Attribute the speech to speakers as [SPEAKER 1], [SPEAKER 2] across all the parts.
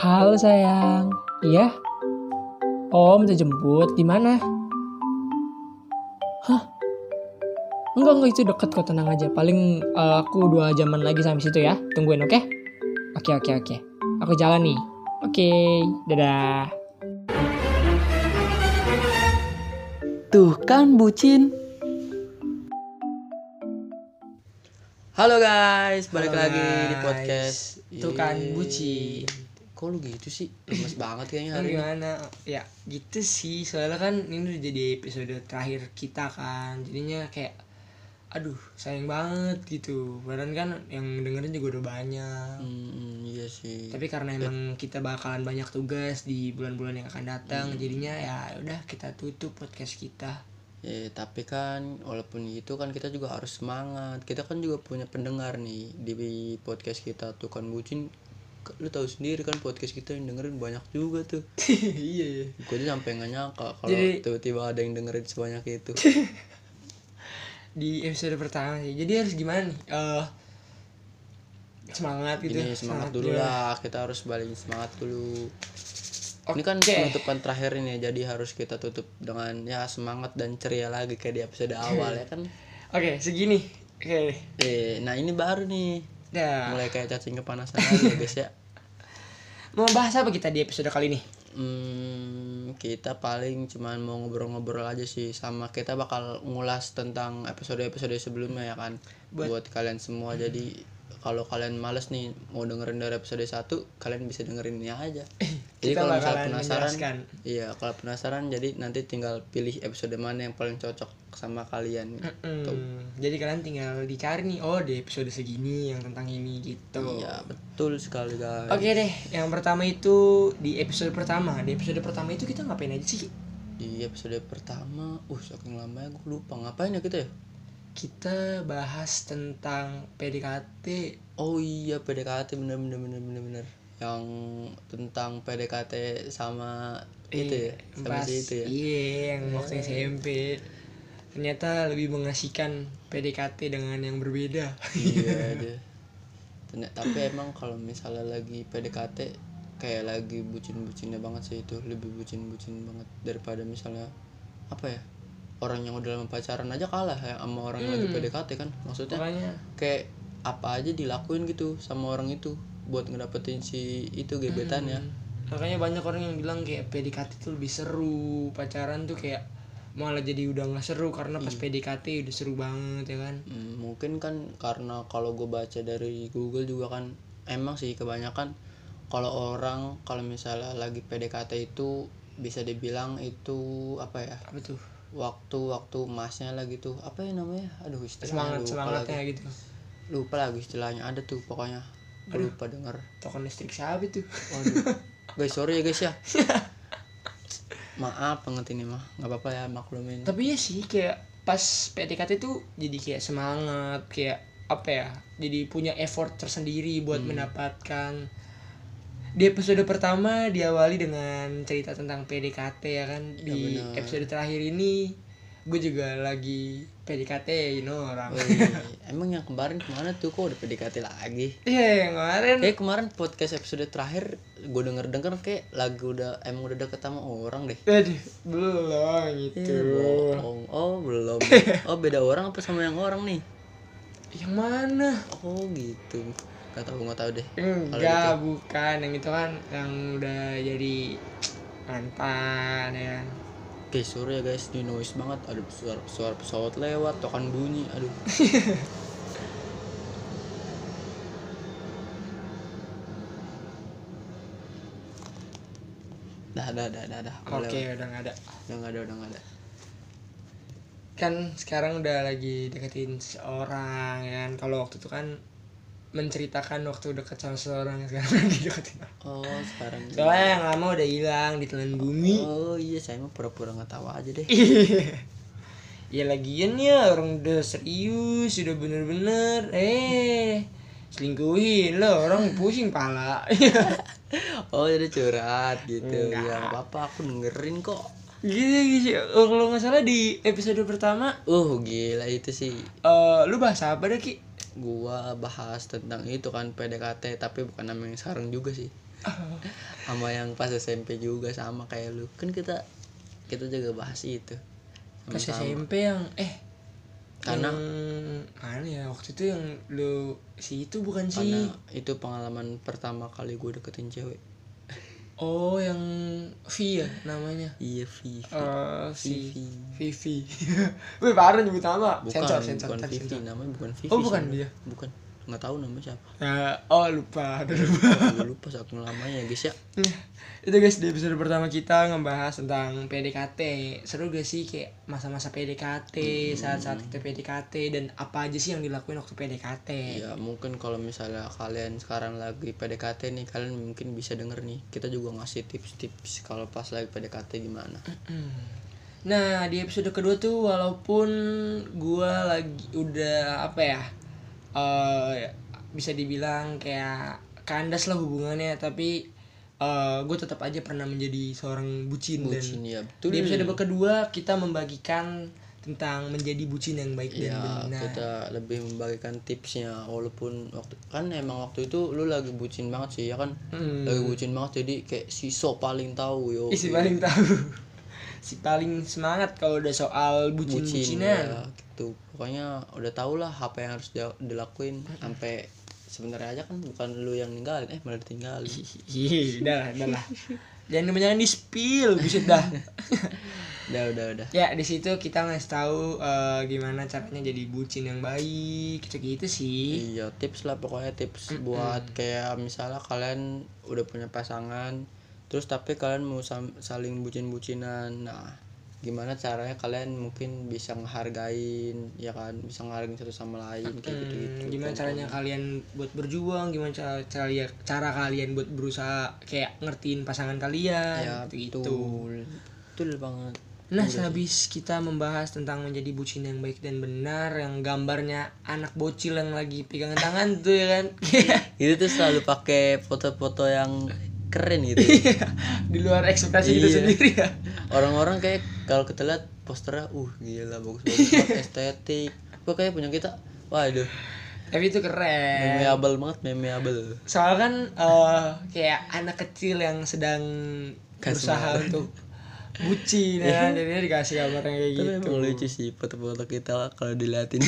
[SPEAKER 1] Halo sayang, iya? Om minta jemput, di mana? Hah? Enggak, enggak itu deket kok, tenang aja. Paling eh, aku dua jaman lagi sampai situ ya. Tungguin, oke? Oke, oke, oke. Aku jalan nih. Oke, dadah.
[SPEAKER 2] Tuh kan bucin. Halo guys, balik
[SPEAKER 1] Halo,
[SPEAKER 2] lagi di
[SPEAKER 1] guys.
[SPEAKER 2] podcast.
[SPEAKER 1] Tuh kan
[SPEAKER 2] Yeay.
[SPEAKER 1] bucin.
[SPEAKER 2] Kok lu gitu sih? Lemes banget kayaknya hari ini.
[SPEAKER 1] gimana? Ya gitu sih, soalnya kan ini udah jadi episode terakhir kita kan. Jadinya kayak aduh sayang banget gitu. Padahal kan yang dengerin juga udah banyak.
[SPEAKER 2] Hmm, iya sih.
[SPEAKER 1] Tapi karena emang kita bakalan banyak tugas di bulan-bulan yang akan datang,
[SPEAKER 2] Iya.
[SPEAKER 1] jadinya ya udah kita tutup podcast kita.
[SPEAKER 2] Eh, tapi kan walaupun gitu kan kita juga harus semangat. Kita kan juga punya pendengar nih di podcast kita tuh kan bucin. Ke- Lu tahu sendiri kan podcast kita yang dengerin banyak juga tuh.
[SPEAKER 1] iya.
[SPEAKER 2] Gue tuh sampai nggak nyangka kalau
[SPEAKER 1] Jadi-
[SPEAKER 2] tiba-tiba ada yang dengerin sebanyak itu.
[SPEAKER 1] Di episode pertama sih. Jadi harus gimana nih? Eh, semangat gitu.
[SPEAKER 2] Ini semangat dulu lah, kita harus balikin semangat dulu. Ini kan
[SPEAKER 1] Oke.
[SPEAKER 2] penutupan terakhir ini ya, jadi harus kita tutup dengan ya semangat dan ceria lagi kayak di episode awal ya kan.
[SPEAKER 1] Oke, segini. Oke. Nah,
[SPEAKER 2] Eh, nah ini baru nih,
[SPEAKER 1] Dah.
[SPEAKER 2] mulai kayak cacing kepanasan lagi ya guys ya.
[SPEAKER 1] Mau bahas apa kita di episode kali ini?
[SPEAKER 2] Hmm, kita paling cuman mau ngobrol-ngobrol aja sih sama kita bakal ngulas tentang episode-episode sebelumnya ya kan. Buat,
[SPEAKER 1] Buat-
[SPEAKER 2] kalian semua jadi kalau kalian males nih mau dengerin dari episode 1, kalian bisa dengerin ini aja. jadi
[SPEAKER 1] Kita
[SPEAKER 2] kalau misal
[SPEAKER 1] bakalan
[SPEAKER 2] penasaran,
[SPEAKER 1] menjelaskan.
[SPEAKER 2] iya, kalau penasaran jadi nanti tinggal pilih episode mana yang paling cocok sama kalian.
[SPEAKER 1] Mm, Jadi kalian tinggal dicari nih, oh di episode segini yang tentang ini gitu.
[SPEAKER 2] Iya, betul sekali guys.
[SPEAKER 1] Oke deh, yang pertama itu di episode pertama. Di episode pertama itu kita ngapain aja sih?
[SPEAKER 2] Di episode pertama, uh saking lamanya gue lupa ngapain ya kita ya?
[SPEAKER 1] Kita bahas tentang PDKT.
[SPEAKER 2] Oh iya PDKT bener bener bener bener bener yang tentang PDKT sama itu ya sama
[SPEAKER 1] bahas-
[SPEAKER 2] si itu ya
[SPEAKER 1] Iya, yang waktu SMP. Ternyata lebih mengasihkan PDKT dengan yang berbeda.
[SPEAKER 2] iya dia. Ternyata- tapi emang kalau misalnya lagi PDKT kayak lagi bucin-bucinnya banget sih itu lebih bucin-bucin banget daripada misalnya apa ya orang yang udah lama pacaran aja kalah ya sama orang yang lagi
[SPEAKER 1] Hmm.
[SPEAKER 2] PDKT kan maksudnya
[SPEAKER 1] Makanya
[SPEAKER 2] kayak apa aja dilakuin gitu sama orang itu buat ngedapetin si itu
[SPEAKER 1] Hmm.
[SPEAKER 2] ya. gebetannya
[SPEAKER 1] makanya banyak orang yang bilang kayak PDKT itu lebih seru pacaran tuh kayak malah jadi udah nggak seru karena pas PDKT udah seru banget ya kan
[SPEAKER 2] Hmm, mungkin kan karena kalau gue baca dari Google juga kan emang sih kebanyakan kalau orang kalau misalnya lagi PDKT itu bisa dibilang itu apa ya
[SPEAKER 1] apa tuh
[SPEAKER 2] waktu-waktu emasnya lagi tuh apa ya namanya aduh istilahnya
[SPEAKER 1] semangat
[SPEAKER 2] lupa
[SPEAKER 1] semangatnya
[SPEAKER 2] lagi.
[SPEAKER 1] gitu
[SPEAKER 2] lupa lagi istilahnya ada tuh pokoknya Gua lupa denger
[SPEAKER 1] token listrik siapa tuh
[SPEAKER 2] waduh guys sorry ya guys ya maaf banget ini mah nggak apa-apa ya maklumin
[SPEAKER 1] tapi ya sih kayak pas PDKT tuh jadi kayak semangat kayak apa ya jadi punya effort tersendiri buat mendapatkan di episode pertama diawali dengan cerita tentang PDKT ya kan di
[SPEAKER 2] benar.
[SPEAKER 1] episode terakhir ini gue juga lagi PDKT you know orang
[SPEAKER 2] Woi, emang yang kemarin kemana tuh kok udah PDKT lagi
[SPEAKER 1] Iya yang kemarin
[SPEAKER 2] Kayak kemarin podcast episode terakhir gue denger denger kayak lagu udah emang udah deket sama orang deh.
[SPEAKER 1] Aduh belum gitu
[SPEAKER 2] Eh, bohong. Oh belum. Oh beda orang apa sama yang orang nih?
[SPEAKER 1] Yang mana?
[SPEAKER 2] Oh gitu. Gak tau gak tau deh.
[SPEAKER 1] Enggak bukan yang itu kan yang udah jadi mantan ya kan
[SPEAKER 2] Oke sorry ya guys di noise banget. Aduh suara suara pesawat lewat, tokan bunyi. Aduh. dah dah dah dah dah.
[SPEAKER 1] Oke
[SPEAKER 2] Udah lewat.
[SPEAKER 1] udah nggak ada
[SPEAKER 2] Udah nggak ada udah nggak ada.
[SPEAKER 1] Kan sekarang udah lagi deketin seorang ya kan Kalau waktu itu kan menceritakan waktu deket sama seorang sekarang lagi deketin orang.
[SPEAKER 2] Oh sekarang.
[SPEAKER 1] soalnya yang lama udah hilang ditelan bumi
[SPEAKER 2] Oh iya saya mah pura-pura nggak tahu aja deh.
[SPEAKER 1] ya lagian ya orang udah serius udah bener-bener eh selingkuhin lo orang pusing pala
[SPEAKER 2] Oh jadi curhat gitu.
[SPEAKER 1] Enggak.
[SPEAKER 2] Ya nggak apa-apa aku dengerin kok.
[SPEAKER 1] gitu gitu Oh, kalau nggak salah di episode pertama
[SPEAKER 2] Uh gila itu sih.
[SPEAKER 1] eh lu bahas apa deh ki
[SPEAKER 2] Gua bahas tentang itu kan PDKT tapi bukan nama yang sekarang juga sih. sama yang pas SMP juga sama kayak lu kan kita kita juga bahas itu
[SPEAKER 1] pas
[SPEAKER 2] Sama-sama.
[SPEAKER 1] SMP yang eh
[SPEAKER 2] Karena-
[SPEAKER 1] yang- mana ya waktu itu yang lu si itu bukan
[SPEAKER 2] karena
[SPEAKER 1] sih
[SPEAKER 2] itu pengalaman pertama kali gue deketin cewek
[SPEAKER 1] oh yang V ya namanya
[SPEAKER 2] iya Vivi
[SPEAKER 1] Eh si
[SPEAKER 2] Vivi
[SPEAKER 1] Vivi Wih baru nyebut nama
[SPEAKER 2] bukan
[SPEAKER 1] sensor sensor
[SPEAKER 2] bukan
[SPEAKER 1] ntar
[SPEAKER 2] Vivi
[SPEAKER 1] sensor.
[SPEAKER 2] namanya bukan Vivi
[SPEAKER 1] Oh, bukan
[SPEAKER 2] sebenarnya.
[SPEAKER 1] dia?
[SPEAKER 2] bukan nggak tahu namanya siapa
[SPEAKER 1] Ya, oh lupa udah lupa
[SPEAKER 2] gue lupa saking lamanya ya guys ya
[SPEAKER 1] Nah, itu guys di episode pertama kita ngebahas tentang PDKT seru gak sih kayak masa-masa PDKT saat-saat
[SPEAKER 2] Hmm.
[SPEAKER 1] kita PDKT dan apa aja sih yang dilakuin waktu PDKT
[SPEAKER 2] ya mungkin kalau misalnya kalian sekarang lagi PDKT nih kalian mungkin bisa denger nih kita juga ngasih tips-tips kalau pas lagi PDKT gimana
[SPEAKER 1] nah di episode kedua tuh walaupun gua lagi udah apa ya eh, bisa dibilang kayak kandas lah hubungannya tapi gue tetap aja pernah menjadi seorang bucin, dan
[SPEAKER 2] bucin ya betul
[SPEAKER 1] Di episode kedua kita membagikan tentang menjadi bucin yang baik dan
[SPEAKER 2] ya
[SPEAKER 1] benar.
[SPEAKER 2] kita lebih membagikan tipsnya walaupun waktu kan emang waktu itu lu lagi bucin banget sih ya kan
[SPEAKER 1] Hmm.
[SPEAKER 2] lagi bucin banget jadi kayak siso paling tahu yo
[SPEAKER 1] Ih, si paling tahu. si paling semangat kalau udah soal
[SPEAKER 2] bucin
[SPEAKER 1] bucin-bucinan.
[SPEAKER 2] ya gitu pokoknya udah tau lah apa yang harus dia- dilakuin sampai sebenarnya aja kan bukan lu yang ninggalin eh malah ditinggalin
[SPEAKER 1] Ih, udah lah, udah lah. Jangan kebanyakan di spill, buset dah.
[SPEAKER 2] udah udah udah
[SPEAKER 1] ya, di situ kita ngasih tahu eh, gimana caranya jadi bucin yang baik, gitu-gitu sih.
[SPEAKER 2] Iya tips lah pokoknya tips buat kayak misalnya kalian udah punya pasangan terus tapi kalian mau sam- saling bucin-bucinan nah gimana caranya kalian mungkin bisa ngehargain ya kan bisa ngehargain satu sama lain kayak gitu gitu
[SPEAKER 1] Hmm, gimana caranya kalian buat berjuang, gimana cara cara, cara kalian buat berusaha kayak ngertiin pasangan
[SPEAKER 2] ya
[SPEAKER 1] kalian, gitu.
[SPEAKER 2] betul Iya, betul banget
[SPEAKER 1] Nah,
[SPEAKER 2] Udah
[SPEAKER 1] sehabis kita membahas tentang menjadi bucin yang baik dan benar, yang gambarnya anak bocil yang lagi pegangan tangan tuh ya kan,
[SPEAKER 2] itu tuh selalu pakai foto-foto yang keren gitu
[SPEAKER 1] di luar ekspektasi kita
[SPEAKER 2] Iya.
[SPEAKER 1] sendiri ya.
[SPEAKER 2] orang-orang kayak kalau kita lihat posternya uh gila bagus bagus estetik kok kayak punya kita waduh
[SPEAKER 1] Tapi itu keren.
[SPEAKER 2] memeable banget memeable
[SPEAKER 1] Soalnya kan eh, kayak anak kecil yang sedang berusaha untuk bucin ya, kan, jadinya dikasih gambarnya kayak
[SPEAKER 2] tapi
[SPEAKER 1] gitu.
[SPEAKER 2] emang lucu sih foto-foto kita kalau diliatin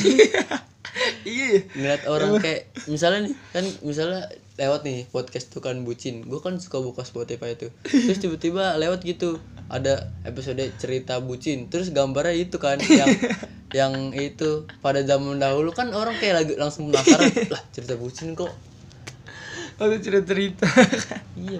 [SPEAKER 1] Iya.
[SPEAKER 2] ngeliat orang kayak misalnya nih kan misalnya lewat nih podcast tuh kan bucin gue kan suka buka Spotify itu terus tiba-tiba lewat gitu ada episode cerita bucin terus gambarnya itu kan yang yang itu pada zaman dahulu kan orang kayak lagi langsung penasaran lah cerita bucin kok
[SPEAKER 1] Waktu cerita-cerita.
[SPEAKER 2] iya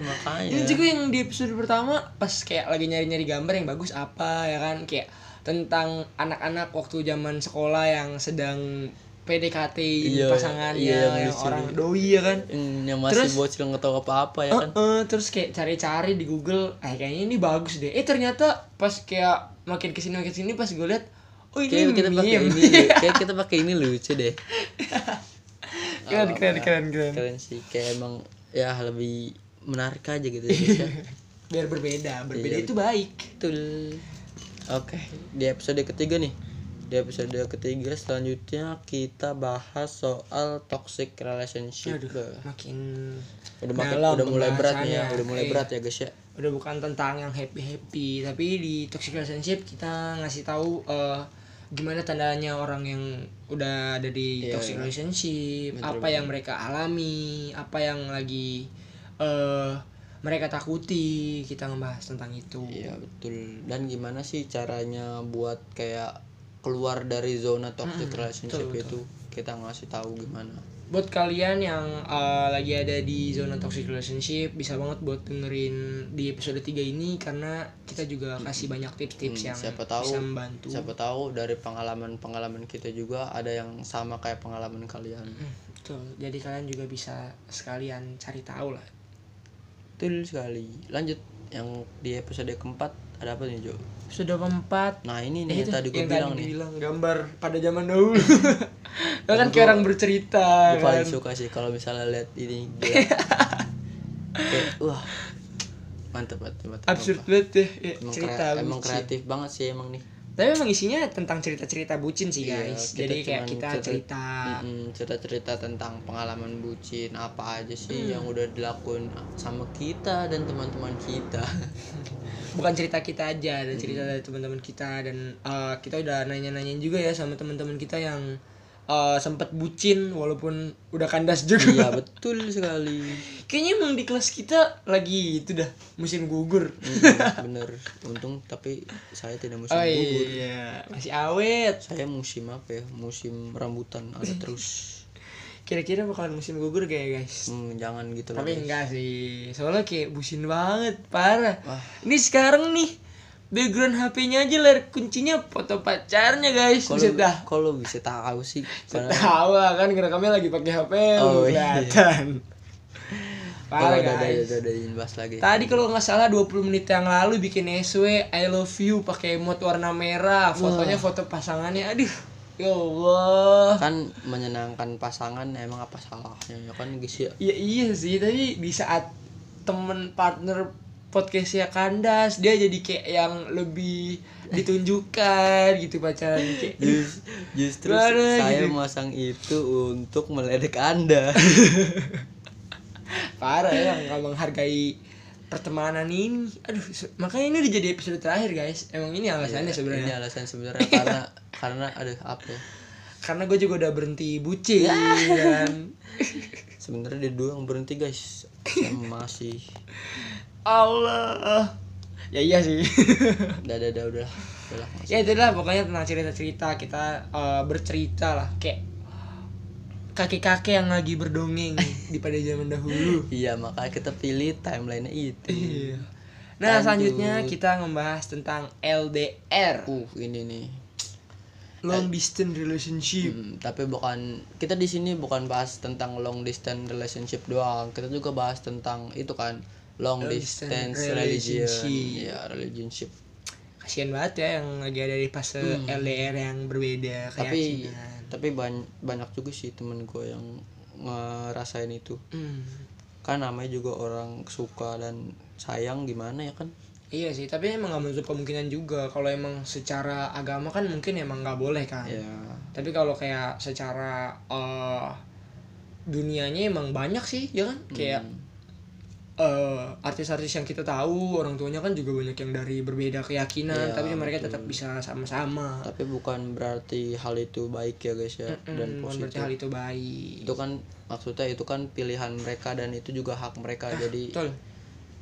[SPEAKER 1] Ini
[SPEAKER 2] makanya
[SPEAKER 1] juga yang di episode pertama pas kayak lagi nyari-nyari gambar yang bagus apa ya kan kayak tentang anak-anak waktu zaman sekolah yang sedang PDKT
[SPEAKER 2] Iya,
[SPEAKER 1] pasangannya
[SPEAKER 2] iya, yang
[SPEAKER 1] yang
[SPEAKER 2] lucu.
[SPEAKER 1] orang doi ya kan.
[SPEAKER 2] Hmm, yang masih
[SPEAKER 1] Terus-
[SPEAKER 2] bocil nggak tahu apa-apa ya kan
[SPEAKER 1] Eh, terus kayak cari-cari di Google, eh kayaknya ini bagus deh. Eh ternyata pas kayak makin kesini makin kesini pas gue liat, oh ini
[SPEAKER 2] kayak kita pakai
[SPEAKER 1] meme.
[SPEAKER 2] ini kayak kita pakai ini lucu deh
[SPEAKER 1] keren,
[SPEAKER 2] Oh,
[SPEAKER 1] keren, keren, keren.
[SPEAKER 2] keren sih kayak emang ya lebih menarik aja gitu ya guys ya
[SPEAKER 1] Biar berbeda, berbeda
[SPEAKER 2] Iya.
[SPEAKER 1] itu baik.
[SPEAKER 2] betul oke di episode ketiga nih di episode ketiga selanjutnya kita bahas soal toxic relationship
[SPEAKER 1] Aduh, makin
[SPEAKER 2] udah makin,
[SPEAKER 1] dalam
[SPEAKER 2] udah mulai berat nih ya
[SPEAKER 1] pembahasannya.
[SPEAKER 2] udah mulai
[SPEAKER 1] Iya.
[SPEAKER 2] berat ya guys ya
[SPEAKER 1] udah bukan tentang yang happy happy tapi di toxic relationship kita ngasih tahu eh, gimana tandanya orang yang udah ada di
[SPEAKER 2] Iya,
[SPEAKER 1] toxic
[SPEAKER 2] iya.
[SPEAKER 1] relationship
[SPEAKER 2] Betul,
[SPEAKER 1] apa yang mereka alami apa yang lagi eh mereka takuti kita ngebahas tentang itu
[SPEAKER 2] iya betul dan gimana sih caranya buat kayak keluar dari zona toxic relationship
[SPEAKER 1] betul,
[SPEAKER 2] itu kita ngasih tahu gimana
[SPEAKER 1] buat kalian yang eh, lagi ada di zona toxic relationship bisa banget buat dengerin di episode 3 ini karena kita juga kasih banyak tips-tips
[SPEAKER 2] Hmm,
[SPEAKER 1] yang
[SPEAKER 2] siapa tahu-
[SPEAKER 1] bisa membantu
[SPEAKER 2] siapa tahu dari pengalaman pengalaman kita juga ada yang sama kayak pengalaman kalian
[SPEAKER 1] Betul. Jadi kalian juga bisa sekalian cari tahu lah.
[SPEAKER 2] Betul sekali. Lanjut yang di episode keempat ada apa nih Jo?
[SPEAKER 1] Sudah keempat.
[SPEAKER 2] Nah
[SPEAKER 1] Eh,
[SPEAKER 2] ini nih yang
[SPEAKER 1] itu,
[SPEAKER 2] tadi gue
[SPEAKER 1] yang
[SPEAKER 2] bilang
[SPEAKER 1] tadi
[SPEAKER 2] nih.
[SPEAKER 1] bilang, gambar pada zaman dahulu. Lo kan kayak orang bercerita
[SPEAKER 2] Gue
[SPEAKER 1] kan.
[SPEAKER 2] paling suka sih kalau misalnya lihat ini. gila. Kayak, wah mantep banget. mantep, mantep.
[SPEAKER 1] Absurd banget ya, ya,
[SPEAKER 2] Emang,
[SPEAKER 1] cerita
[SPEAKER 2] krea- emang
[SPEAKER 1] bucin.
[SPEAKER 2] kreatif banget sih emang nih.
[SPEAKER 1] tapi memang isinya tentang cerita-cerita bucin sih
[SPEAKER 2] Iya,
[SPEAKER 1] guys
[SPEAKER 2] kita
[SPEAKER 1] jadi kayak
[SPEAKER 2] cuman
[SPEAKER 1] kita
[SPEAKER 2] cerita- Hmm.
[SPEAKER 1] cerita
[SPEAKER 2] Mm-mm, cerita-cerita tentang pengalaman bucin apa aja
[SPEAKER 1] Hmm.
[SPEAKER 2] sih yang udah dilakuin sama kita dan teman-teman kita
[SPEAKER 1] bukan cerita kita aja
[SPEAKER 2] Hmm.
[SPEAKER 1] ada cerita dari teman-teman kita dan eh, kita udah nanya-nanyain juga ya sama teman-teman kita yang eh, sempet bucin walaupun udah kandas juga
[SPEAKER 2] iya betul sekali
[SPEAKER 1] kayaknya emang di kelas kita lagi itu dah musim gugur
[SPEAKER 2] Mm-mm, Iya, bener untung tapi saya tidak musim
[SPEAKER 1] oh
[SPEAKER 2] gugur
[SPEAKER 1] iya masih awet
[SPEAKER 2] saya musim apa ya musim rambutan ada terus
[SPEAKER 1] kira-kira bakalan musim gugur gak ya guys
[SPEAKER 2] Hmm, jangan gitu lah
[SPEAKER 1] tapi
[SPEAKER 2] guys.
[SPEAKER 1] enggak sih soalnya kayak bucin banget parah
[SPEAKER 2] Wah.
[SPEAKER 1] ini sekarang nih background HP-nya aja layar kuncinya foto pacarnya guys
[SPEAKER 2] kalau
[SPEAKER 1] bisa dah
[SPEAKER 2] kalau bisa tahu sih karena
[SPEAKER 1] tahu lah kan ngerekamnya lagi pakai HP oh,
[SPEAKER 2] Oh, iya.
[SPEAKER 1] kelihatan
[SPEAKER 2] kalau
[SPEAKER 1] parah
[SPEAKER 2] udah ada
[SPEAKER 1] guys
[SPEAKER 2] udah ada yang bahas lagi
[SPEAKER 1] tadi kalau nggak salah 20 menit yang lalu bikin SW I love you pakai emot warna merah fotonya foto pasangannya aduh ya Allah
[SPEAKER 2] kan menyenangkan pasangan emang apa salahnya ya kan guys ya
[SPEAKER 1] Iya iya sih tapi di saat temen partner podcastnya kandas dia jadi kayak yang lebih ditunjukkan gitu pacaran kayak
[SPEAKER 2] Jus- justru
[SPEAKER 1] Waduh,
[SPEAKER 2] saya
[SPEAKER 1] gitu.
[SPEAKER 2] masang itu untuk meledek anda
[SPEAKER 1] parah ya nggak menghargai pertemanan ini aduh se- makanya ini udah jadi episode terakhir guys emang ini alasannya
[SPEAKER 2] ini
[SPEAKER 1] sebenarnya
[SPEAKER 2] alasan sebenarnya karena karena ada apa ya?
[SPEAKER 1] karena gue juga udah berhenti bucin kan. dan
[SPEAKER 2] sebenarnya dia dua yang berhenti guys saya masih
[SPEAKER 1] Allah ya iya sih
[SPEAKER 2] udah udah udah udah udah masih.
[SPEAKER 1] ya itulah pokoknya tentang cerita-cerita kita eh, bercerita lah kayak kakek-kakek yang lagi berdongeng di pada zaman dahulu
[SPEAKER 2] iya makanya kita pilih timeline itu
[SPEAKER 1] iya nah
[SPEAKER 2] Lanjut.
[SPEAKER 1] selanjutnya kita ngebahas tentang LDR
[SPEAKER 2] uh ini nih
[SPEAKER 1] long distance relationship
[SPEAKER 2] Hmm, tapi bukan kita di sini bukan bahas tentang long distance relationship doang. Kita juga bahas tentang itu kan long, distance,
[SPEAKER 1] distance
[SPEAKER 2] religion.
[SPEAKER 1] relationship.
[SPEAKER 2] Ya, relationship.
[SPEAKER 1] kasihan banget ya yang lagi ada di fase LDR yang berbeda
[SPEAKER 2] Tapi
[SPEAKER 1] keyakinan.
[SPEAKER 2] tapi ban- banyak juga sih temen gue yang ngerasain itu.
[SPEAKER 1] Hmm.
[SPEAKER 2] Kan namanya juga orang suka dan sayang gimana ya kan?
[SPEAKER 1] iya sih tapi emang nggak menutup kemungkinan juga kalau emang secara agama kan mungkin emang nggak boleh kan
[SPEAKER 2] Ya.
[SPEAKER 1] tapi kalau kayak secara eh, dunianya emang banyak sih ya kan kayak
[SPEAKER 2] hmm.
[SPEAKER 1] eh, artis-artis yang kita tahu orang tuanya kan juga banyak yang dari berbeda keyakinan
[SPEAKER 2] Iya,
[SPEAKER 1] tapi mereka
[SPEAKER 2] betul.
[SPEAKER 1] tetap bisa sama-sama
[SPEAKER 2] Tapi bukan berarti hal itu baik ya guys ya dan
[SPEAKER 1] Mm, bukan berarti
[SPEAKER 2] positif.
[SPEAKER 1] hal itu baik
[SPEAKER 2] Itu kan maksudnya itu kan pilihan mereka dan itu juga hak mereka. jadi
[SPEAKER 1] Ah, betul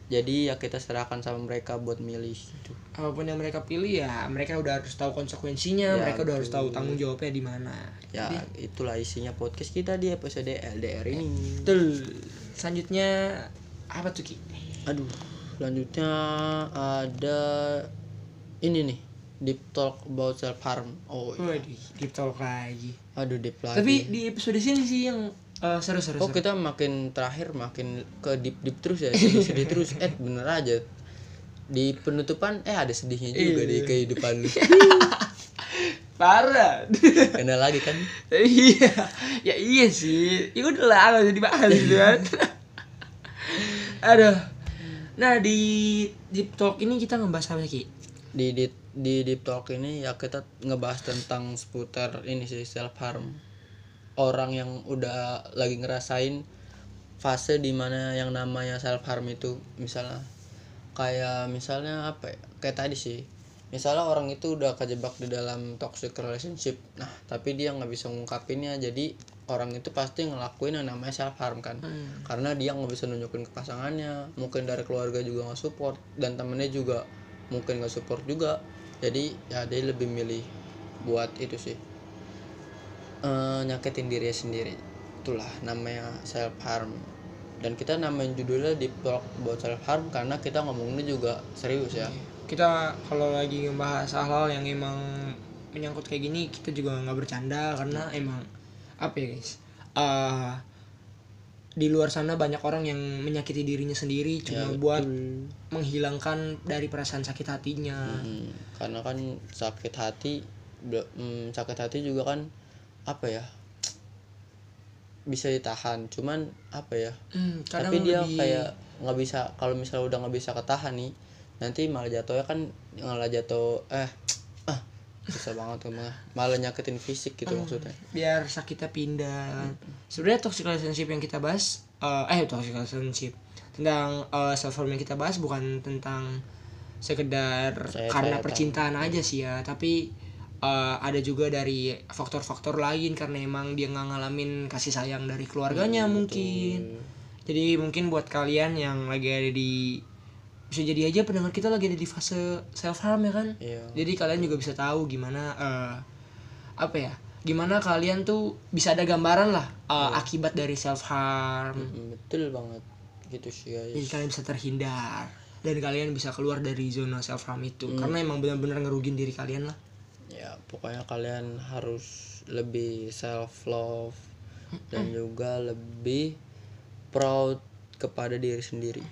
[SPEAKER 2] jadi ya kita serahkan sama mereka buat milih gitu.
[SPEAKER 1] apapun yang mereka pilih ya mereka udah harus tahu konsekuensinya
[SPEAKER 2] Ya,
[SPEAKER 1] mereka udah harus tahu
[SPEAKER 2] betul.
[SPEAKER 1] tanggung jawabnya di mana
[SPEAKER 2] ya itulah isinya podcast kita di episode LDR ini
[SPEAKER 1] betul selanjutnya apa tuh ki
[SPEAKER 2] aduh selanjutnya ada ini nih deep talk about self harm oh iya.
[SPEAKER 1] waduh deep talk lagi
[SPEAKER 2] aduh deep
[SPEAKER 1] Hmm.
[SPEAKER 2] lagi
[SPEAKER 1] tapi di episode sini sih yang eh, seru-seru
[SPEAKER 2] oh
[SPEAKER 1] seru.
[SPEAKER 2] kita makin terakhir makin ke deep deep terus ya sedih sedih terus eh bener aja di penutupan eh ada sedihnya juga
[SPEAKER 1] Iya.
[SPEAKER 2] di kehidupan lu
[SPEAKER 1] parah
[SPEAKER 2] kenal lagi kan
[SPEAKER 1] iya ya iya sih ya udahlah nggak usah dibahas gitu kan aduh nah di deep talk ini kita ngebahas apa ki
[SPEAKER 2] di di di deep talk ini ya kita ngebahas tentang seputar ini sih self harm orang yang udah lagi ngerasain fase dimana yang namanya self harm itu misalnya kayak misalnya apa ya? kayak tadi sih misalnya orang itu udah kejebak di dalam toxic relationship nah tapi dia nggak bisa ngungkapinnya jadi orang itu pasti ngelakuin yang namanya self harm kan karena dia nggak bisa nunjukin ke pasangannya mungkin dari keluarga juga nggak support dan temennya juga mungkin nggak support juga jadi ya dia lebih milih buat itu sih Eh, nyakitin diri sendiri itulah namanya self harm dan kita namain judulnya di blog buat self harm karena kita ngomonginnya juga serius ya
[SPEAKER 1] kita kalau lagi ngebahas hal-hal yang emang menyangkut kayak gini kita juga nggak bercanda karena
[SPEAKER 2] Ya.
[SPEAKER 1] emang apa ya guys Eh, di luar sana banyak orang yang menyakiti dirinya sendiri
[SPEAKER 2] Ya,
[SPEAKER 1] cuma buat menghilangkan dari perasaan sakit hatinya
[SPEAKER 2] Hmm, karena kan sakit hati bel- hmm, sakit hati juga kan apa ya bisa ditahan cuman apa ya
[SPEAKER 1] Hmm, kadang
[SPEAKER 2] tapi dia
[SPEAKER 1] lebih-
[SPEAKER 2] kayak nggak bisa kalau misalnya udah nggak bisa ketahan nih nanti malah jatuhnya kan malah jatuh eh ah susah banget ngomongnya malah nyakitin fisik gitu
[SPEAKER 1] Ah.
[SPEAKER 2] maksudnya
[SPEAKER 1] biar sakitnya pindah kan. sebenarnya toxic relationship yang kita bahas eh, eh toxic relationship tentang self harm yang kita bahas bukan tentang sekedar
[SPEAKER 2] Saya-
[SPEAKER 1] karena
[SPEAKER 2] saya tahu.
[SPEAKER 1] percintaan aja sih ya tapi eh, ada juga dari faktor-faktor lain karena emang dia nggak ngalamin kasih sayang dari keluarganya
[SPEAKER 2] Hmm,
[SPEAKER 1] mungkin jadi mungkin buat kalian yang lagi ada di bisa jadi aja pendengar kita lagi ada di fase self harm ya kan
[SPEAKER 2] iya
[SPEAKER 1] jadi kalian juga bisa tahu gimana eh, apa ya gimana kalian tuh bisa ada gambaran lah eh, akibat dari self harm
[SPEAKER 2] Mm, betul banget gitu sih
[SPEAKER 1] jadi
[SPEAKER 2] guys
[SPEAKER 1] kalian bisa terhindar dan kalian bisa keluar dari zona self harm itu karena emang benar-benar ngerugin diri kalian lah
[SPEAKER 2] ya pokoknya kalian harus lebih self love dan juga lebih proud kepada diri sendiri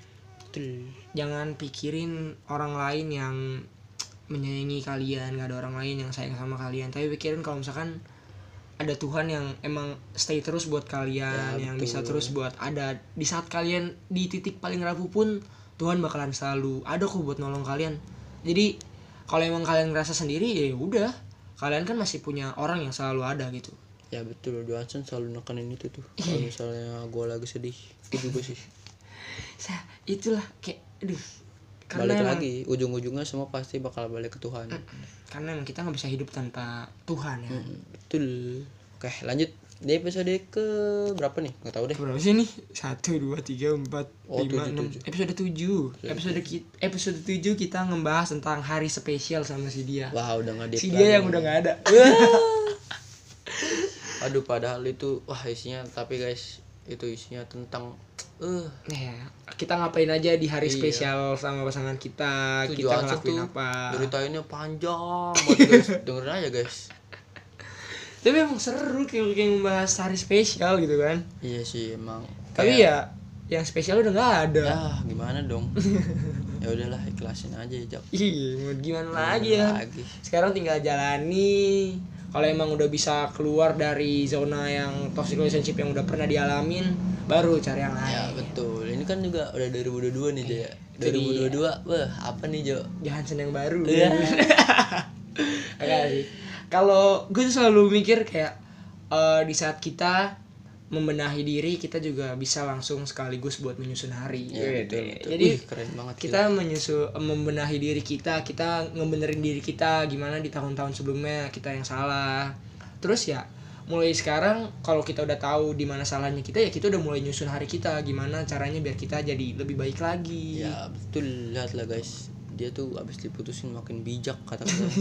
[SPEAKER 2] betul
[SPEAKER 1] jangan pikirin orang lain yang menyayangi kalian gak ada orang lain yang sayang sama kalian tapi pikirin kalau misalkan ada Tuhan yang emang stay terus buat kalian
[SPEAKER 2] Ya,
[SPEAKER 1] yang
[SPEAKER 2] betul.
[SPEAKER 1] bisa terus buat ada di saat kalian di titik paling rapuh pun Tuhan bakalan selalu ada kok buat nolong kalian jadi kalau emang kalian ngerasa sendiri ya udah kalian kan masih punya orang yang selalu ada gitu
[SPEAKER 2] ya betul Johnson selalu nekanin itu tuh
[SPEAKER 1] Iya.
[SPEAKER 2] kalau misalnya gue lagi sedih itu juga sih
[SPEAKER 1] Sa- itulah kayak aduh
[SPEAKER 2] balik
[SPEAKER 1] emang-
[SPEAKER 2] lagi ujung-ujungnya semua pasti bakal balik ke Tuhan
[SPEAKER 1] karena emang kita nggak bisa hidup tanpa Tuhan ya
[SPEAKER 2] Mm, betul oke lanjut di episode ke berapa nih nggak tahu deh
[SPEAKER 1] berapa sih nih satu dua tiga empat
[SPEAKER 2] Oh,
[SPEAKER 1] lima
[SPEAKER 2] tujuh,
[SPEAKER 1] enam
[SPEAKER 2] tujuh.
[SPEAKER 1] episode tujuh episode ki- episode tujuh kita ngebahas tentang hari spesial sama si dia
[SPEAKER 2] wah iya, udah nggak
[SPEAKER 1] si
[SPEAKER 2] deep
[SPEAKER 1] dia
[SPEAKER 2] lagi
[SPEAKER 1] yang
[SPEAKER 2] nih.
[SPEAKER 1] udah nggak ada
[SPEAKER 2] aduh padahal itu wah isinya tapi guys itu isinya tentang eh
[SPEAKER 1] Nah, ya, kita ngapain aja di hari
[SPEAKER 2] Iya.
[SPEAKER 1] spesial sama pasangan kita
[SPEAKER 2] Itu
[SPEAKER 1] kita
[SPEAKER 2] Johnson
[SPEAKER 1] ngelakuin
[SPEAKER 2] tuh
[SPEAKER 1] apa
[SPEAKER 2] ceritainnya panjang buat guys dengerin aja guys
[SPEAKER 1] tapi emang seru kayak, kayak ngebahas hari spesial gitu kan
[SPEAKER 2] iya sih emang
[SPEAKER 1] tapi
[SPEAKER 2] Iya.
[SPEAKER 1] ya yang spesial udah nggak ada
[SPEAKER 2] ya gimana dong ya udahlah ikhlasin aja Jack
[SPEAKER 1] Ih, mau gimana
[SPEAKER 2] Iya,
[SPEAKER 1] lagi ya
[SPEAKER 2] lagi
[SPEAKER 1] sekarang tinggal jalani kalau emang udah bisa keluar dari zona yang toxic relationship yang udah pernah dialamin baru cari yang
[SPEAKER 2] ya
[SPEAKER 1] lain
[SPEAKER 2] betul ini kan juga udah 2022 nih ya. dia
[SPEAKER 1] Iya, Jadi-
[SPEAKER 2] 2022 wah apa nih Jo
[SPEAKER 1] jangan seneng baru
[SPEAKER 2] Iya.
[SPEAKER 1] Agak sih. kalau gue tuh selalu mikir kayak eh, di saat kita membenahi diri kita juga bisa langsung sekaligus buat menyusun hari
[SPEAKER 2] ya
[SPEAKER 1] Gitu.
[SPEAKER 2] betul, betul.
[SPEAKER 1] jadi
[SPEAKER 2] Wih, keren banget gila.
[SPEAKER 1] kita menyusul membenahi diri kita kita ngebenerin diri kita gimana di tahun-tahun sebelumnya kita yang salah terus ya mulai sekarang kalau kita udah tahu di mana salahnya kita ya kita udah mulai nyusun hari kita gimana caranya biar kita jadi lebih baik lagi
[SPEAKER 2] ya betul lihatlah guys dia tuh abis diputusin makin bijak kata kata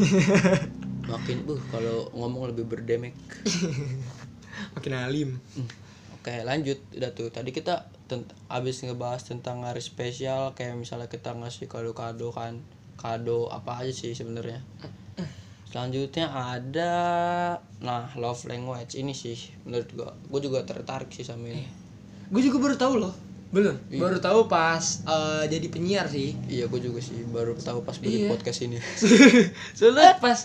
[SPEAKER 2] makin uh kalau ngomong lebih berdemek
[SPEAKER 1] makin alim
[SPEAKER 2] Hmm. Oke lanjut udah tuh tadi kita tent- abis ngebahas tentang hari spesial kayak misalnya kita ngasih kado-kado kan kado apa aja sih sebenarnya selanjutnya ada nah love language ini sih menurut gua gua juga tertarik sih sama ini
[SPEAKER 1] gue juga baru tahu loh belum baru tahu pas eh, jadi penyiar sih
[SPEAKER 2] iya gua juga sih baru tahu pas bikin podcast ini
[SPEAKER 1] soalnya pas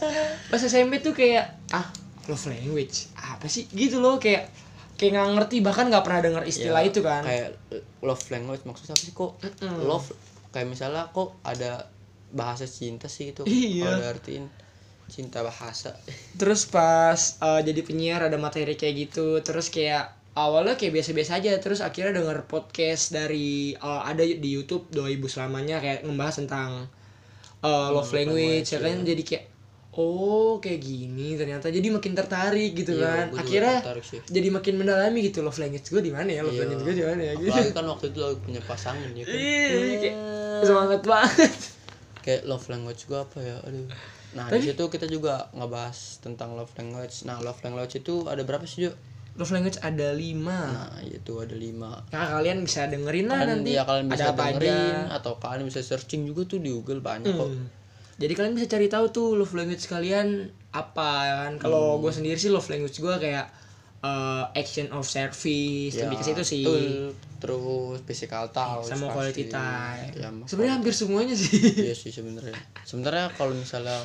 [SPEAKER 1] pas SMP tuh kayak ah love language apa sih gitu loh kayak kayak nggak ngerti bahkan nggak pernah dengar istilah
[SPEAKER 2] Ya,
[SPEAKER 1] itu kan
[SPEAKER 2] kayak love language maksudnya apa sih kok
[SPEAKER 1] Mm-mm.
[SPEAKER 2] love kayak misalnya kok ada bahasa cinta sih itu
[SPEAKER 1] Iya.
[SPEAKER 2] kalau diartiin cinta bahasa
[SPEAKER 1] terus pas uh, jadi penyiar ada materi kayak gitu terus kayak awalnya kayak biasa-biasa aja terus akhirnya denger podcast dari uh, ada di YouTube dua ibu selamanya kayak ngebahas tentang uh,
[SPEAKER 2] Hmm,
[SPEAKER 1] love language ya kan jadi kayak oh kayak gini ternyata jadi makin tertarik gitu
[SPEAKER 2] Iya,
[SPEAKER 1] kan
[SPEAKER 2] gua juga
[SPEAKER 1] akhirnya
[SPEAKER 2] tertarik sih.
[SPEAKER 1] jadi makin mendalami gitu love language gue di mana ya love
[SPEAKER 2] Iya.
[SPEAKER 1] language gue di mana ya gitu Iya.
[SPEAKER 2] apalagi kan waktu itu lagi punya pasangan ya kan
[SPEAKER 1] Ih, kayak semangat banget
[SPEAKER 2] kayak love language juga apa ya aduh nah di situ kita juga ngebahas tentang love language nah love language itu ada berapa sih Jo?
[SPEAKER 1] love language ada lima
[SPEAKER 2] nah itu ada lima
[SPEAKER 1] nah kalian bisa dengerin lah
[SPEAKER 2] kan
[SPEAKER 1] Nah, nanti
[SPEAKER 2] ya kalian bisa
[SPEAKER 1] ada apa aja. Hmm.
[SPEAKER 2] dengerin atau kalian bisa searching juga tuh di Google banyak kok
[SPEAKER 1] Jadi kalian bisa cari tahu tuh love language kalian apa ya kan.
[SPEAKER 2] Hmm.
[SPEAKER 1] Kalau gue sendiri sih love language gue kayak eh, action of service lebih ke situ sih.
[SPEAKER 2] Ya, betul. terus physical touch
[SPEAKER 1] Sama quality
[SPEAKER 2] pasti.
[SPEAKER 1] time.
[SPEAKER 2] ya, mak-
[SPEAKER 1] Sebenarnya hampir semuanya sih.
[SPEAKER 2] iya sih sebenarnya sebenarnya kalau misalnya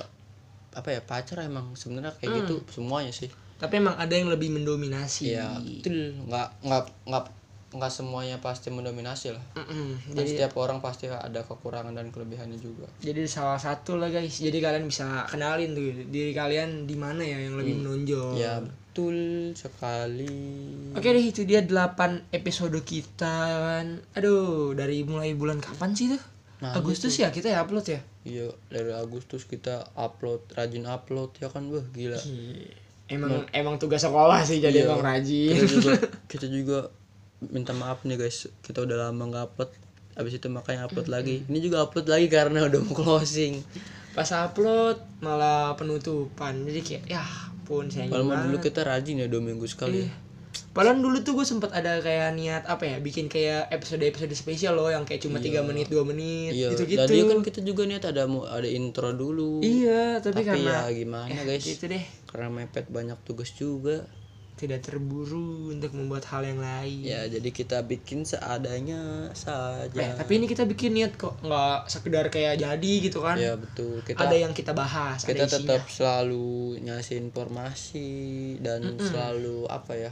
[SPEAKER 2] apa ya pacar emang sebenarnya kayak gitu
[SPEAKER 1] Hmm.
[SPEAKER 2] semuanya sih
[SPEAKER 1] Tapi emang ada yang lebih mendominasi.
[SPEAKER 2] Iya, betul. Nggak nggak nggak nggak semuanya pasti mendominasi lah
[SPEAKER 1] Mm-mm.
[SPEAKER 2] dan
[SPEAKER 1] jadi
[SPEAKER 2] setiap orang pasti ada kekurangan dan kelebihannya juga
[SPEAKER 1] jadi salah satu lah guys jadi kalian bisa kenalin tuh diri kalian di mana ya yang lebih menonjol
[SPEAKER 2] ya betul sekali
[SPEAKER 1] Oke deh itu dia 8 episode kita kan. Aduh, dari mulai bulan kapan sih tuh?
[SPEAKER 2] Nah,
[SPEAKER 1] Agustus ya kita ya upload ya?
[SPEAKER 2] iya dari Agustus kita upload rajin upload ya kan wah gila
[SPEAKER 1] Emang emang tugas sekolah sih jadi
[SPEAKER 2] Iya.
[SPEAKER 1] emang rajin.
[SPEAKER 2] kita juga kita juga minta maaf nih guys kita udah lama nggak upload abis itu makanya upload lagi ini juga upload lagi karena udah mau closing
[SPEAKER 1] Pas upload malah penutupan. Jadi kayak ya pun saya
[SPEAKER 2] kalau mau dulu kita rajin ya dua minggu sekali ya.
[SPEAKER 1] Padahal dulu tuh gue sempet ada kayak niat apa ya bikin kayak episode-episode spesial loh yang kayak cuma tiga menit dua menit
[SPEAKER 2] iya
[SPEAKER 1] gitu gitu.
[SPEAKER 2] tadi kan kita juga niat ada mau ada intro dulu
[SPEAKER 1] Iya tapi,
[SPEAKER 2] tapi
[SPEAKER 1] karena
[SPEAKER 2] ya gimana guys
[SPEAKER 1] gitu deh
[SPEAKER 2] karena mepet banyak tugas juga
[SPEAKER 1] tidak terburu untuk membuat hal yang lain.
[SPEAKER 2] ya jadi kita bikin seadanya
[SPEAKER 1] Eh,
[SPEAKER 2] saja
[SPEAKER 1] tapi ini kita bikin niat kok nggak sekedar kayak jadi gitu kan
[SPEAKER 2] ya betul kita
[SPEAKER 1] ada yang kita bahas
[SPEAKER 2] kita
[SPEAKER 1] ada isinya
[SPEAKER 2] tetap selalu ngasih informasi dan selalu apa ya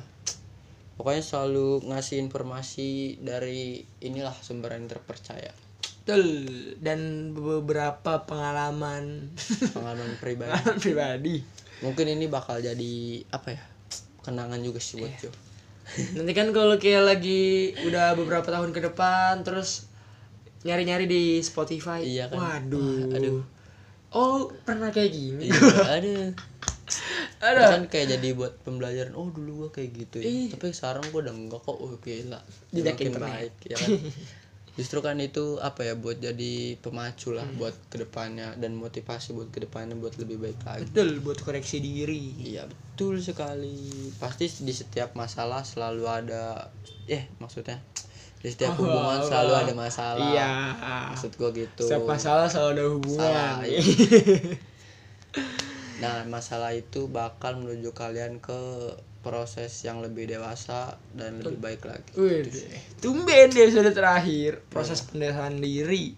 [SPEAKER 2] pokoknya selalu ngasih informasi dari inilah sumber yang terpercaya
[SPEAKER 1] Betul. dan beberapa pengalaman
[SPEAKER 2] pengalaman
[SPEAKER 1] Ah.
[SPEAKER 2] pribadi
[SPEAKER 1] pribadi
[SPEAKER 2] mungkin ini bakal jadi apa ya kenangan juga sih
[SPEAKER 1] Iya.
[SPEAKER 2] buat Jo.
[SPEAKER 1] nanti kan kalau kayak lagi udah beberapa tahun ke depan terus nyari-nyari di Spotify
[SPEAKER 2] Iya kan.
[SPEAKER 1] waduh
[SPEAKER 2] Wah, aduh.
[SPEAKER 1] oh pernah kayak gini
[SPEAKER 2] Iya, aduh Itu
[SPEAKER 1] ada
[SPEAKER 2] kan kayak jadi buat pembelajaran oh dulu gua kayak gitu ya
[SPEAKER 1] Iya.
[SPEAKER 2] tapi sekarang gua udah enggak kok oh gila
[SPEAKER 1] Jejak
[SPEAKER 2] Makin
[SPEAKER 1] internet.
[SPEAKER 2] baik ya kan justru kan itu apa ya buat jadi pemacu lah
[SPEAKER 1] Hmm.
[SPEAKER 2] buat kedepannya dan motivasi buat kedepannya buat lebih baik lagi
[SPEAKER 1] betul buat koreksi diri
[SPEAKER 2] Iya betul sekali. Pasti di setiap masalah selalu ada eh maksudnya di setiap
[SPEAKER 1] Oh,
[SPEAKER 2] hubungan
[SPEAKER 1] oh,
[SPEAKER 2] selalu
[SPEAKER 1] oh.
[SPEAKER 2] ada masalah.
[SPEAKER 1] iya
[SPEAKER 2] Maksud gua gitu.
[SPEAKER 1] setiap masalah selalu ada hubungan
[SPEAKER 2] Salah, iya. Nah, masalah itu bakal menuju kalian ke proses yang lebih dewasa dan lebih baik lagi.
[SPEAKER 1] Wih, tumben di episode terakhir
[SPEAKER 2] Iya.
[SPEAKER 1] proses pendewasaan diri.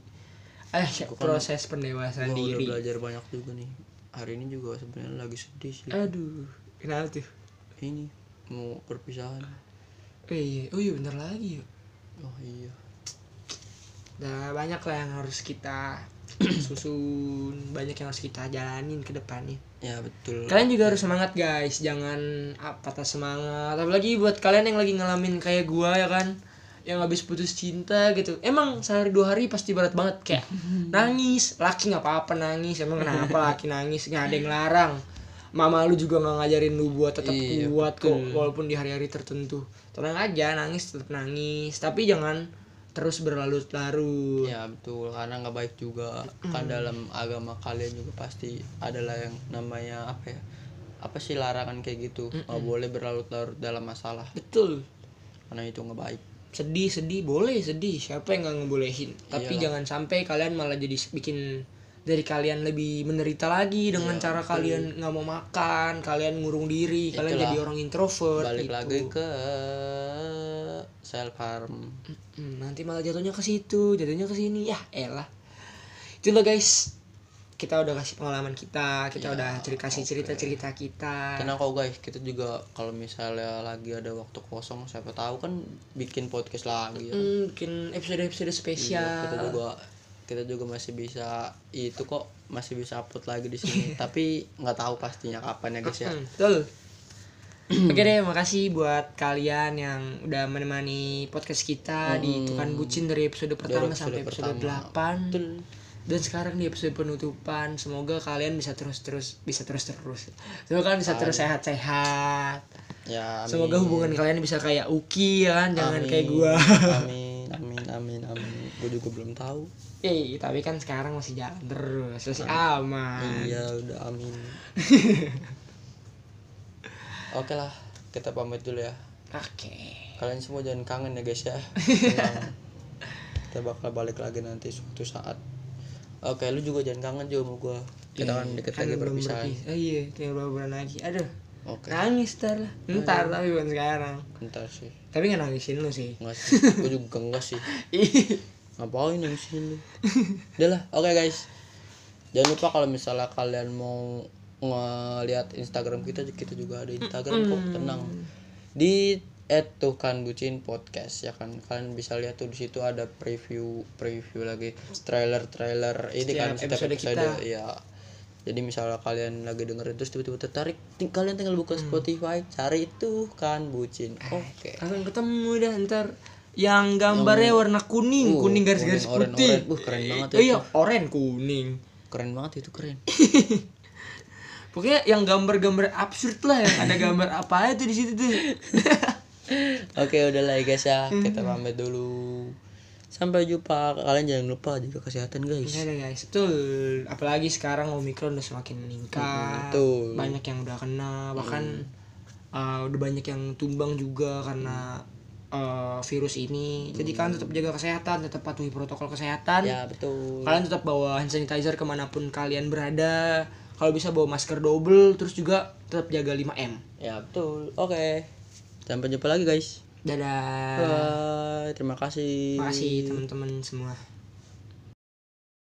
[SPEAKER 1] Eh, proses pendewasaan
[SPEAKER 2] kan Gua udah
[SPEAKER 1] diri.
[SPEAKER 2] belajar banyak juga nih. Hari ini juga sebenarnya lagi sedih sih.
[SPEAKER 1] Aduh, kenapa tuh?
[SPEAKER 2] Ini mau perpisahan.
[SPEAKER 1] Oh iya, oh iya bentar lagi yuk.
[SPEAKER 2] Oh iya.
[SPEAKER 1] Udah banyak lah yang harus kita susun, banyak yang harus kita jalanin ke depannya.
[SPEAKER 2] Ya betul.
[SPEAKER 1] Kalian juga harus semangat guys, jangan ah, patah semangat. Apalagi buat kalian yang lagi ngalamin kayak gua ya kan, yang habis putus cinta gitu. Emang sehari dua hari pasti berat banget kayak nangis, laki nggak apa-apa nangis. Emang kenapa laki nangis? Nggak ada yang larang. Mama lu juga nggak ngajarin lu buat tetap
[SPEAKER 2] Iya,
[SPEAKER 1] kuat kok, walaupun di hari-hari tertentu. Tenang aja, nangis tetap nangis, tapi jangan terus berlarut-larut.
[SPEAKER 2] Ya betul, karena nggak baik juga kan dalam agama kalian juga pasti adalah yang namanya apa ya? Apa sih larangan kayak gitu? Nggak boleh berlarut-larut dalam masalah,
[SPEAKER 1] Betul.
[SPEAKER 2] karena itu nggak baik.
[SPEAKER 1] sedih sedih boleh sedih siapa yang nggak ngebolehin tapi
[SPEAKER 2] Iyalah.
[SPEAKER 1] jangan sampai kalian malah jadi s- bikin dari kalian lebih menderita lagi dengan
[SPEAKER 2] Iya,
[SPEAKER 1] cara kalian nggak mau makan kalian ngurung diri kalian
[SPEAKER 2] Itulah.
[SPEAKER 1] jadi orang introvert
[SPEAKER 2] Balik
[SPEAKER 1] gitu.
[SPEAKER 2] lagi ke self harm.
[SPEAKER 1] Mm, nanti malah jatuhnya ke situ jatuhnya ke sini ya elah itulah guys kita udah kasih pengalaman kita kita
[SPEAKER 2] Iya,
[SPEAKER 1] udah ceri- kasih cerita cerita kita
[SPEAKER 2] Tenang kok guys, kita juga kalau misalnya lagi ada waktu kosong, siapa tahu kan bikin podcast lagi. ya kan?
[SPEAKER 1] Mm, mungkin episode episode
[SPEAKER 2] Iya, kita
[SPEAKER 1] spesial
[SPEAKER 2] juga kita juga masih bisa itu kok masih bisa upload lagi di sini tapi nggak tahu pastinya kapan ya guys ya
[SPEAKER 1] Hmm, betul. Oke deh, makasih buat kalian yang udah menemani podcast kita di Tukan Bucin dari episode pertama
[SPEAKER 2] Hmm. episode
[SPEAKER 1] sampai episode
[SPEAKER 2] pertama.
[SPEAKER 1] 8.
[SPEAKER 2] Betul.
[SPEAKER 1] Dan sekarang di episode penutupan, semoga kalian bisa terus-terus bisa terus-terus. Semoga kalian bisa terus sehat-sehat.
[SPEAKER 2] Ya, amin.
[SPEAKER 1] Semoga hubungan kalian bisa kayak Uki ya kan, jangan kayak gua.
[SPEAKER 2] amin, amin, amin, amin. Gue juga belum tahu.
[SPEAKER 1] Eh, tapi kan sekarang masih jalan terus, masih aman.
[SPEAKER 2] Iya, udah amin. Oke lah, kita pamit dulu ya.
[SPEAKER 1] Oke.
[SPEAKER 2] Kalian semua jangan kangen ya guys ya. Tenang. kita bakal balik lagi nanti suatu saat. Oke, lu juga jangan kangen juga sama gua. Kita kan deket
[SPEAKER 1] Kan
[SPEAKER 2] lagi
[SPEAKER 1] belum
[SPEAKER 2] perpisahan.
[SPEAKER 1] berpisah. Oh, iya, tinggal beberapa bulan lagi. Aduh,
[SPEAKER 2] Oke,
[SPEAKER 1] nangis ntar lah. Ntar tapi bukan sekarang.
[SPEAKER 2] bentar sih.
[SPEAKER 1] Tapi nggak nangisin lu sih.
[SPEAKER 2] Enggak sih, gue juga enggak sih. ngapain yang sini udah lah oke guys jangan lupa kalau misalnya kalian mau ngelihat Instagram kita kita juga ada Instagram kok tenang di at tuh kan bucin podcast ya kan kalian bisa lihat tuh di situ ada preview preview lagi trailer trailer ini
[SPEAKER 1] Setiap
[SPEAKER 2] kan setiap
[SPEAKER 1] episode
[SPEAKER 2] episode,
[SPEAKER 1] kita.
[SPEAKER 2] ya jadi misalnya kalian lagi dengerin terus tiba-tiba tertarik ting- kalian tinggal buka
[SPEAKER 1] Hmm.
[SPEAKER 2] Spotify cari itu kan bucin oke
[SPEAKER 1] akan ketemu dah ntar yang gambarnya warna kuning
[SPEAKER 2] Uh,
[SPEAKER 1] kuning garis-garis
[SPEAKER 2] kuning, oren,
[SPEAKER 1] putih
[SPEAKER 2] oren. Wah, keren banget ya,
[SPEAKER 1] Eh, iya oren kuning
[SPEAKER 2] keren banget itu keren
[SPEAKER 1] pokoknya yang gambar-gambar absurd lah yang ada gambar apa aja tuh di situ tuh
[SPEAKER 2] oke udah lah ya guys ya kita pamit dulu sampai jumpa kalian jangan lupa jaga kesehatan guys
[SPEAKER 1] Iya deh, guys betul apalagi sekarang omikron udah semakin meningkat
[SPEAKER 2] betul. Hmm.
[SPEAKER 1] banyak yang udah kena bahkan uh, udah banyak yang tumbang juga karena uh, virus ini jadi kalian tetap jaga kesehatan tetap patuhi protokol kesehatan
[SPEAKER 2] ya betul
[SPEAKER 1] kalian tetap bawa hand sanitizer kemanapun kalian berada kalau bisa bawa masker double terus juga tetap jaga 5M
[SPEAKER 2] ya betul oke sampai jumpa lagi guys
[SPEAKER 1] dadah
[SPEAKER 2] Bye. Terima kasih.
[SPEAKER 1] terima kasih teman-teman semua